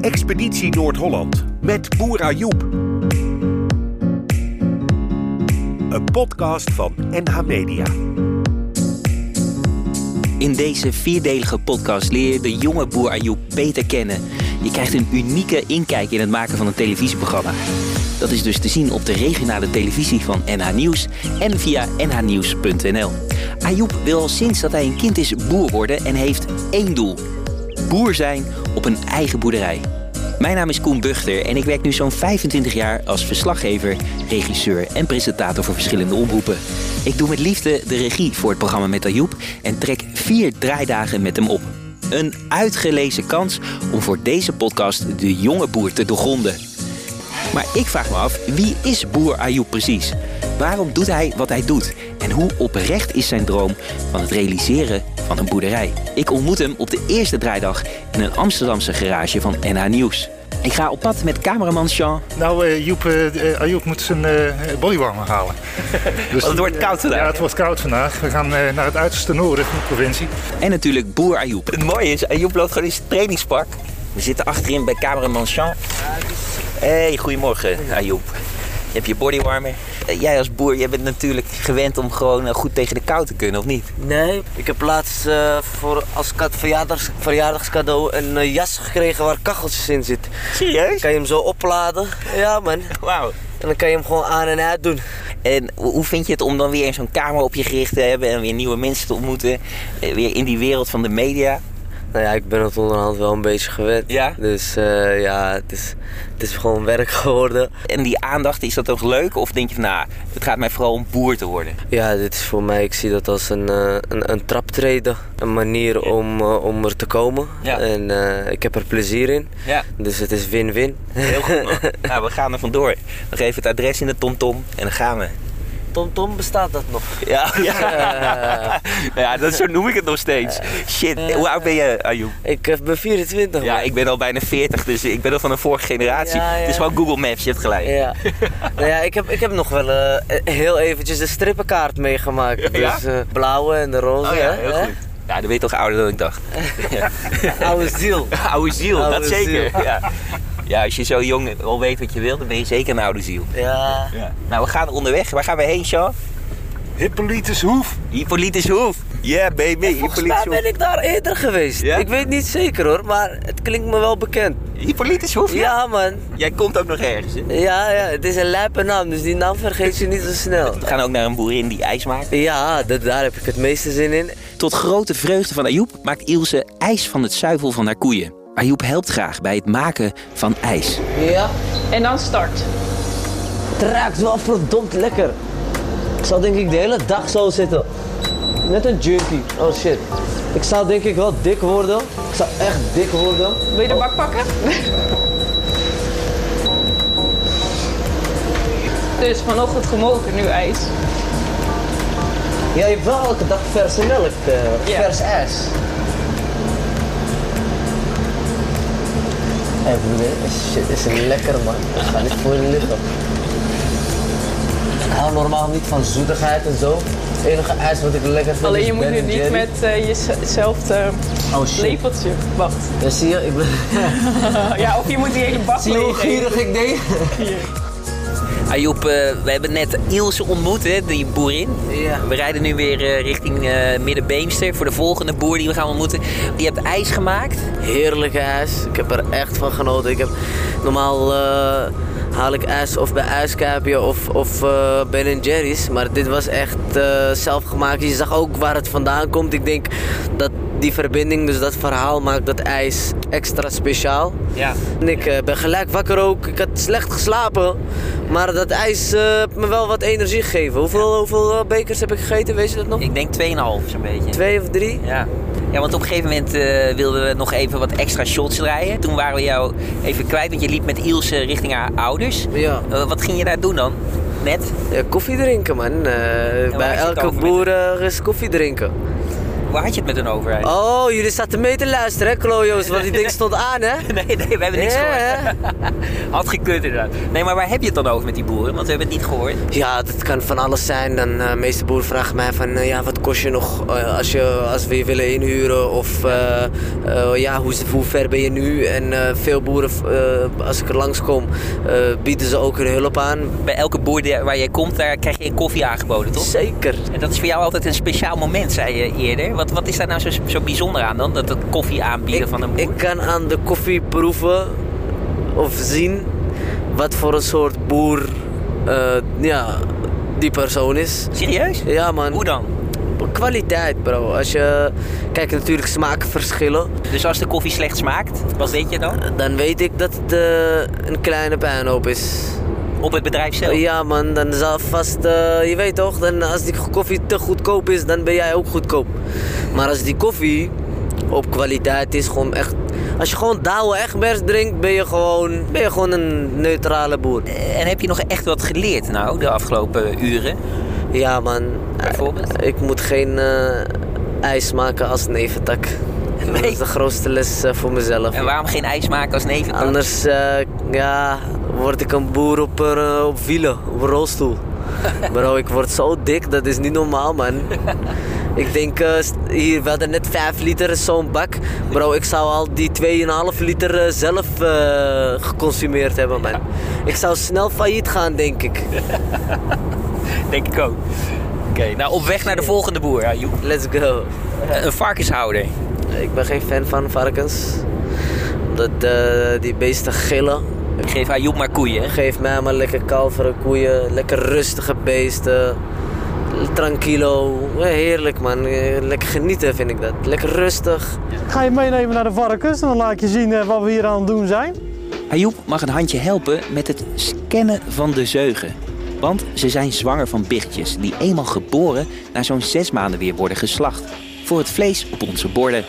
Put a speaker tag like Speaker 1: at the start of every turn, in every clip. Speaker 1: Expeditie Noord-Holland met Boer Ajoep. Een podcast van NH Media.
Speaker 2: In deze vierdelige podcast leer je de jonge boer Ayoub beter kennen. Je krijgt een unieke inkijk in het maken van een televisieprogramma. Dat is dus te zien op de regionale televisie van NH Nieuws en via nhnieuws.nl. Ayoub wil al sinds dat hij een kind is boer worden en heeft één doel. Boer zijn op een eigen boerderij. Mijn naam is Koen Buchter en ik werk nu zo'n 25 jaar als verslaggever, regisseur en presentator voor verschillende omroepen. Ik doe met liefde de regie voor het programma met Ayoub en trek vier draaidagen met hem op. Een uitgelezen kans om voor deze podcast de jonge boer te doorgronden. Maar ik vraag me af, wie is boer Ayoub precies? Waarom doet hij wat hij doet? En hoe oprecht is zijn droom van het realiseren van een boerderij? Ik ontmoet hem op de eerste draaidag in een Amsterdamse garage van NH Nieuws. Ik ga op pad met cameraman Jean.
Speaker 3: Nou, eh, Joep, eh, eh, Ayoub moet zijn eh, bodywarmer halen. Dus
Speaker 2: het wordt
Speaker 3: eh,
Speaker 2: koud vandaag.
Speaker 3: Ja, het wordt koud vandaag. We gaan eh, naar het uiterste noorden van de provincie.
Speaker 2: En natuurlijk boer Ayoub. Het mooie is, Ayoub loopt gewoon in zijn trainingspak. We zitten achterin bij cameraman Jean. Hey, goedemorgen Ayoub. Je hebt je bodywarmer. Eh, Jij als boer, jij bent natuurlijk gewend om gewoon eh, goed tegen de kou te kunnen, of niet?
Speaker 4: Nee, ik heb laatst eh, voor als kat verjaardags, verjaardagscadeau een eh, jas gekregen waar kacheltjes in zitten.
Speaker 2: Serieus?
Speaker 4: Kan je hem zo opladen? Ja man.
Speaker 2: Wauw.
Speaker 4: En dan kan je hem gewoon aan en uit doen.
Speaker 2: En ho- hoe vind je het om dan weer zo'n kamer op je gericht te hebben en weer nieuwe mensen te ontmoeten? Eh, Weer in die wereld van de media?
Speaker 4: Nou ja, ik ben het onderhand wel een beetje gewend.
Speaker 2: Ja?
Speaker 4: Dus eh, ja, het is, het is gewoon werk geworden.
Speaker 2: En die aandacht, is dat ook leuk? Of denk je van, nou, het gaat mij vooral om boer te worden?
Speaker 4: Ja, dit is voor mij, ik zie dat als een, eh, een, een traptreden. Een manier om, eh, om er te komen.
Speaker 2: Ja.
Speaker 4: En eh, ik heb er plezier in.
Speaker 2: Ja.
Speaker 4: Dus het is win-win.
Speaker 2: Heel goed, man. nou, we gaan er vandoor. Nog even het adres in de TomTom en dan gaan we.
Speaker 4: Tom Tom bestaat dat nog?
Speaker 2: Ja, ja. ja dat, zo noem ik het nog steeds. Shit, hoe oud ben je, Ayoub?
Speaker 4: Ik eh, ben 24
Speaker 2: Ja,
Speaker 4: man.
Speaker 2: ik ben al bijna 40, dus ik ben al van een vorige generatie.
Speaker 4: Ja, ja.
Speaker 2: Het is gewoon Google Maps, je hebt gelijk.
Speaker 4: Ja. nou ja, ik heb, ik heb nog wel eh, heel eventjes de strippenkaart meegemaakt.
Speaker 2: Ja?
Speaker 4: Dus eh, blauwe en de roze.
Speaker 2: Oh ja,
Speaker 4: hè?
Speaker 2: heel
Speaker 4: Hè?
Speaker 2: goed. Ja, dan ben je toch ouder dan ik dacht.
Speaker 4: Oude ziel.
Speaker 2: Oude ziel,
Speaker 4: Oude
Speaker 2: dat zeker.
Speaker 4: ziel.
Speaker 2: Ja. ja, als je zo jong al weet wat je wilt, dan ben je zeker een oude ziel.
Speaker 4: Ja.
Speaker 2: Nou, we gaan onderweg. Waar gaan we heen, Sean?
Speaker 3: Hippolytus Hoef.
Speaker 2: Hippolytus Hoef. Yeah, baby.
Speaker 4: Volgens mij ben ik daar eerder geweest.
Speaker 2: Ja?
Speaker 4: Ik weet niet zeker hoor, maar het klinkt me wel bekend.
Speaker 2: Hippolytus Hoef, ja.
Speaker 4: Ja man.
Speaker 2: Jij komt ook nog ergens, hè?
Speaker 4: Ja, ja, het is een lijpe naam, dus die naam vergeet je niet zo snel.
Speaker 2: We gaan ook naar een boerin die ijs maakt.
Speaker 4: Ja, dat, daar heb ik het meeste zin in.
Speaker 2: Tot grote vreugde van Ayoub maakt Ilse ijs van het zuivel van haar koeien. Ayoub helpt graag bij het maken van ijs.
Speaker 4: Ja,
Speaker 5: En dan start.
Speaker 4: het ruikt wel verdomd lekker. Ik zal denk ik de hele dag zo zitten. Net een junkie. Oh shit. Ik zou denk ik wel dik worden. Ik zou echt dik worden.
Speaker 5: Wil je de bak pakken? dus vanochtend gemolken, nu ijs.
Speaker 4: Ja, je hebt wel elke dag verse melk. eh,
Speaker 5: Ja.
Speaker 4: Vers ijs. Hey, broer, shit, is het lekker man. Ik ga niet voor je liggen. Ik hou normaal niet van zoetigheid en zo. Het enige ijs wat ik lekker vind
Speaker 5: Alleen
Speaker 4: is
Speaker 5: je moet
Speaker 4: Ben
Speaker 5: nu niet
Speaker 4: Jerry.
Speaker 5: met eh, jezelf eh,
Speaker 4: Oh shit.
Speaker 5: lepeltje. Wacht.
Speaker 4: Ja, zie je, ik ben...
Speaker 5: Ja, of je moet die hele bak
Speaker 4: Zie je hoe
Speaker 5: leeg eten.
Speaker 4: gierig ik deed?
Speaker 2: Ayoub, eh, we hebben net Ilse ontmoet, hè, die boerin.
Speaker 4: Ja.
Speaker 2: We rijden nu weer eh, richting eh Middenbeemster voor de volgende boer die we gaan ontmoeten. Die hebt ijs gemaakt.
Speaker 4: Heerlijk ijs. Ik heb er echt van genoten. Ik heb, normaal eh, haal ik ijs of bij IJskapje of, of eh, Ben Jerry's. Maar dit was echt eh, zelf gemaakt. Je zag ook waar het vandaan komt. Ik denk dat die verbinding, dus dat verhaal, maakt dat ijs extra speciaal.
Speaker 2: Ja.
Speaker 4: En ik eh, ben gelijk wakker ook. Ik had slecht geslapen. Maar dat ijs eh, heeft me wel wat energie gegeven. Hoeveel, hoeveel eh, bekers heb ik gegeten? Weet je dat nog?
Speaker 2: Ik denk 2,5 zo'n beetje.
Speaker 4: Twee of drie?
Speaker 2: Ja. ja, want op een gegeven moment eh, wilden we nog even wat extra shots draaien. Toen waren we jou even kwijt, want je liep met Ilse richting haar ouders.
Speaker 4: Ja.
Speaker 2: Eh, wat ging je daar doen dan? Net?
Speaker 4: Ja, koffie drinken, man. Eh,
Speaker 2: waar
Speaker 4: bij
Speaker 2: is het
Speaker 4: elke
Speaker 2: over
Speaker 4: boer eh, is koffie drinken.
Speaker 2: Waar had je het met een overheid?
Speaker 4: Oh, jullie zaten mee te luisteren, hè, klojo's, want die ding stond aan, hè?
Speaker 2: Nee, nee, we hebben niks
Speaker 4: Ja,
Speaker 2: gehoord. Had gekund inderdaad. Nee, maar waar heb je het dan over met die boeren? Want we hebben het niet gehoord.
Speaker 4: Ja, dat kan van alles zijn. Dan eh, de meeste boeren vragen mij van, eh, ja, wat kost je nog eh, als, je, als we je willen inhuren? Of eh, eh, ja, hoe, hoe ver ben je nu? En eh, veel boeren, eh, als ik er langskom, eh, bieden ze ook hun hulp aan.
Speaker 2: Bij elke boer die- waar jij komt, daar krijg je koffie aangeboden, toch?
Speaker 4: Zeker.
Speaker 2: En dat is voor jou altijd een speciaal moment, zei je eerder. Wat, wat is daar nou zo, zo bijzonder aan dan? Dat het koffie aanbieden
Speaker 4: Ik,
Speaker 2: van een boer?
Speaker 4: ik kan aan de koffie proeven of zien wat voor een soort boer eh, ja, die persoon is.
Speaker 2: Serieus?
Speaker 4: Ja man,
Speaker 2: Hoe dan?
Speaker 4: kwaliteit bro. Als je, kijk natuurlijk smaken verschillen.
Speaker 2: Dus als de koffie slecht smaakt, wat weet je dan?
Speaker 4: Dan weet ik dat het eh, een kleine puinhoop is.
Speaker 2: Op het bedrijf zelf?
Speaker 4: Ja man, dan zal vast, eh, je weet toch, dan als die koffie te goedkoop is, dan ben jij ook goedkoop. Maar als die koffie op kwaliteit is, gewoon echt, als je gewoon Douwe Egberts drinkt, ben je gewoon, ben je gewoon een neutrale boer.
Speaker 2: En heb je nog echt wat geleerd nou, de afgelopen uren?
Speaker 4: Ja man,
Speaker 2: Bijvoorbeeld?
Speaker 4: ik moet geen eh, ijs maken als neventak. Dat
Speaker 2: Nee.
Speaker 4: is de grootste les eh, voor mezelf.
Speaker 2: En waarom geen ijs maken als neven?
Speaker 4: Anders eh, ja, word ik een boer op, een, eh, op wielen, op een rolstoel. Bro, ik word zo dik, dat is niet normaal, man. Ik denk, eh, st- hier, we hadden net 5 liter in zo'n bak. Bro, ik zou al die 2,5 liter eh, zelf eh, geconsumeerd hebben, man. Ik zou snel failliet gaan, denk ik.
Speaker 2: Denk ik ook. Oké, nou op weg naar de volgende boer, Ajoep.
Speaker 4: Let's go.
Speaker 2: Een varkenshouder.
Speaker 4: Ik ben geen fan van varkens. Omdat eh, die beesten gillen.
Speaker 2: Geef Ajoep maar koeien.
Speaker 4: Geef mij maar lekker kalveren, koeien, lekker rustige beesten. Tranquilo, heerlijk man. Eh, Lekker genieten vind ik dat. Lekker rustig.
Speaker 6: ga je meenemen naar de varkens en dan laat ik je zien eh, wat we hier aan het doen zijn.
Speaker 2: Ajoep mag een handje helpen met het scannen van de zeugen. Want ze zijn zwanger van biggetjes die eenmaal geboren na zo'n zes maanden weer worden geslacht. Voor het vlees op onze borden.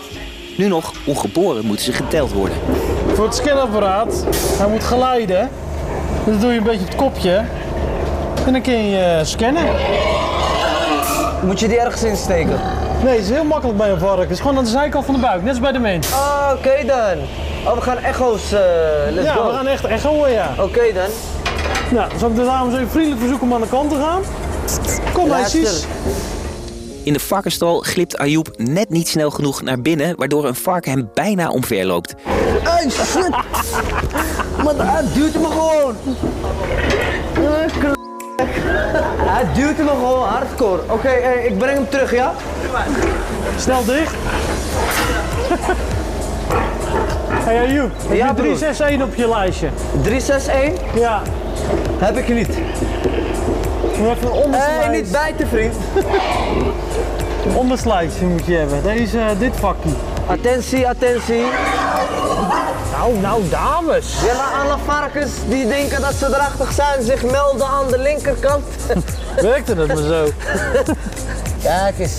Speaker 2: Nu nog, ongeboren moeten ze geteld worden.
Speaker 6: Voor het scanapparaat, hij moet glijden. Dat doe je een beetje op het kopje. En dan kun je eh, scannen.
Speaker 7: Moet je die ergens insteken?
Speaker 6: Nee, het is heel makkelijk bij een varken. Het is gewoon aan de zijkant van de buik, net als bij de mens.
Speaker 7: Ah, Oké dan. Oh, we gaan echo's. eh, let's
Speaker 6: Ja,
Speaker 7: go.
Speaker 6: we
Speaker 7: Oké
Speaker 6: gaan echt echoën, ja.
Speaker 7: dan.
Speaker 6: Nou, zal ik de dames even vriendelijk verzoeken om aan de kant te gaan? Kom
Speaker 7: Luister.
Speaker 6: meisjes.
Speaker 2: In de varkenstal glipt Ajoep net niet snel genoeg naar binnen, waardoor een varken hem bijna omver loopt.
Speaker 7: Hey, shit! Man, hij duwt me gewoon. Ah, k- Hij duwt me gewoon hardcore. Oké, eh, ik breng hem terug, ja?
Speaker 6: Snel dicht. Hey Ayoub, heb
Speaker 7: Ja,
Speaker 6: je
Speaker 7: broer.
Speaker 6: 361 op je lijstje?
Speaker 7: 361
Speaker 6: Ja,
Speaker 7: heb ik niet.
Speaker 6: je hebt een onderste
Speaker 7: Hé,
Speaker 6: lijst.
Speaker 7: Eh, niet bijten, vriend.
Speaker 6: Onderslijtje moet je hebben. Deze, eh, dit vakje.
Speaker 7: Attentie, attentie.
Speaker 6: Nou, nou dames.
Speaker 7: Ja, maar alle varkens die denken dat ze drachtig zijn, zich melden aan de linkerkant.
Speaker 6: Werkte het maar zo.
Speaker 7: Kijk eens.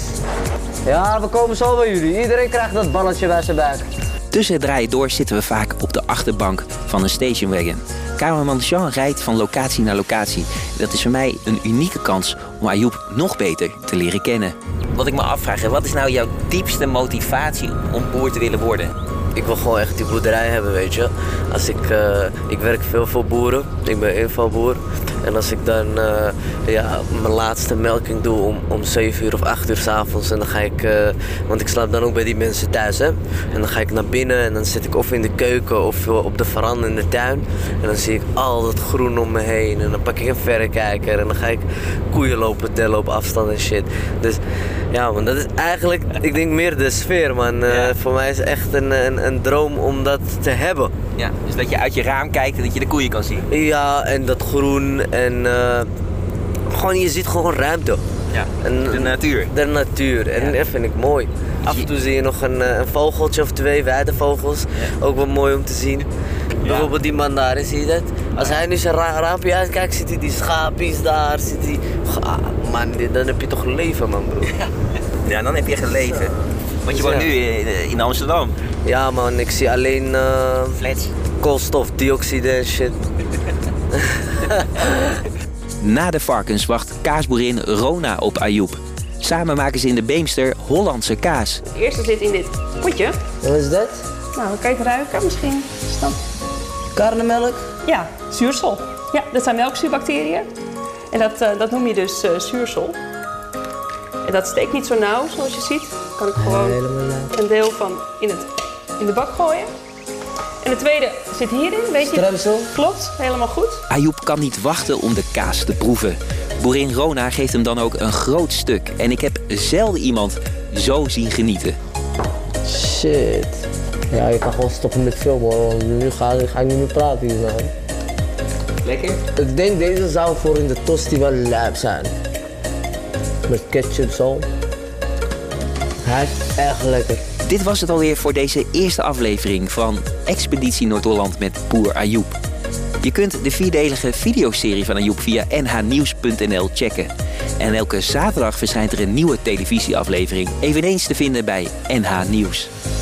Speaker 7: Ja, we komen zo bij jullie. Iedereen krijgt dat balletje bij zijn buik.
Speaker 2: Tussen Dus het rijden door zitten we vaak op de achterbank van een stationwagon. Cameraman Jean rijdt van locatie naar locatie. Dat is voor mij een unieke kans om Ayoub nog beter te leren kennen. Wat ik me afvraag, hè, wat is nou jouw diepste motivatie om boer te willen worden?
Speaker 4: Ik wil gewoon echt die boerderij hebben, weet je. Als ik, eh, ik werk veel voor boeren. Ik ben invalboer. En als ik dan eh, ja, mijn laatste melking doe om, om 7 uur of 8 uur s'avonds. En dan ga ik, eh, want ik slaap dan ook bij die mensen thuis, hè. En dan ga ik naar binnen en dan zit ik of in de keuken of eh, op de veranda in de tuin. En dan zie ik al dat groen om me heen. En dan pak ik een verrekijker en dan ga ik koeien lopen tellen op afstand en shit. Dus ja, man, dat is eigenlijk, ik denk meer de sfeer, man. Eh, Voor mij is echt een, een, een droom om dat te hebben.
Speaker 2: Ja, dus dat je uit je raam kijkt en dat je de koeien kan zien.
Speaker 4: Ja, en dat groen en eh, gewoon, je ziet gewoon ruimte.
Speaker 2: Ja,
Speaker 4: En-
Speaker 2: de natuur.
Speaker 4: De natuur, en dat vind ik mooi. Af en toe zie je nog een, eh, een vogeltje of twee weidevogels. Ook wel mooi om te zien. Bijvoorbeeld die man daar, zie je dat? Als hij nu zijn ra raampje uitkijkt, ziet hij die schaapjes daar, ziet hij... Ah, man, dit- dan heb je toch leven, man, broer.
Speaker 2: Ja, dan heb je geleven. Want je woont
Speaker 4: Ja.
Speaker 2: nu in, in Amsterdam.
Speaker 4: Ja, man, ik zie alleen eh,
Speaker 2: Flats.
Speaker 4: koolstofdioxide en shit.
Speaker 2: Na de varkens wacht kaasboerin Rona op Ayoub. Samen maken ze in de Beemster Hollandse kaas.
Speaker 8: Het eerste zit in dit potje.
Speaker 4: Wat is dat?
Speaker 8: Nou, kijk ruiken misschien. Is dat-
Speaker 4: Karnemelk?
Speaker 8: Ja, zuursel. Ja, dat zijn melkzuurbacteriën. En dat, eh, dat noem je dus eh, zuursel. En dat steekt niet zo nauw, zoals je ziet. Kan ik gewoon een deel van in, het, in de bak gooien. En de tweede zit hierin, weet je?
Speaker 4: Stremsel?
Speaker 8: Klopt, helemaal goed.
Speaker 2: Ayoub kan niet wachten om de kaas te proeven. Boerin Rona geeft hem dan ook een groot stuk. En ik heb zelden iemand zo zien genieten.
Speaker 4: Shit. Ja, je kan gewoon stoppen met filmen hoor, want nu ga, ga ik niet meer praten hier zo.
Speaker 2: Lekker.
Speaker 4: Ik denk deze zou voor in de tosti wel lijp zijn. Met ketchup zo. Hij is echt lekker.
Speaker 2: Dit was het alweer voor deze eerste aflevering van Expeditie Noord-Holland met Boer Ayoub. Je kunt de vierdelige videoserie van Ayoub via nhnieuws.nl checken. En elke zaterdag verschijnt er een nieuwe televisieaflevering, eveneens te vinden bij NH Nieuws.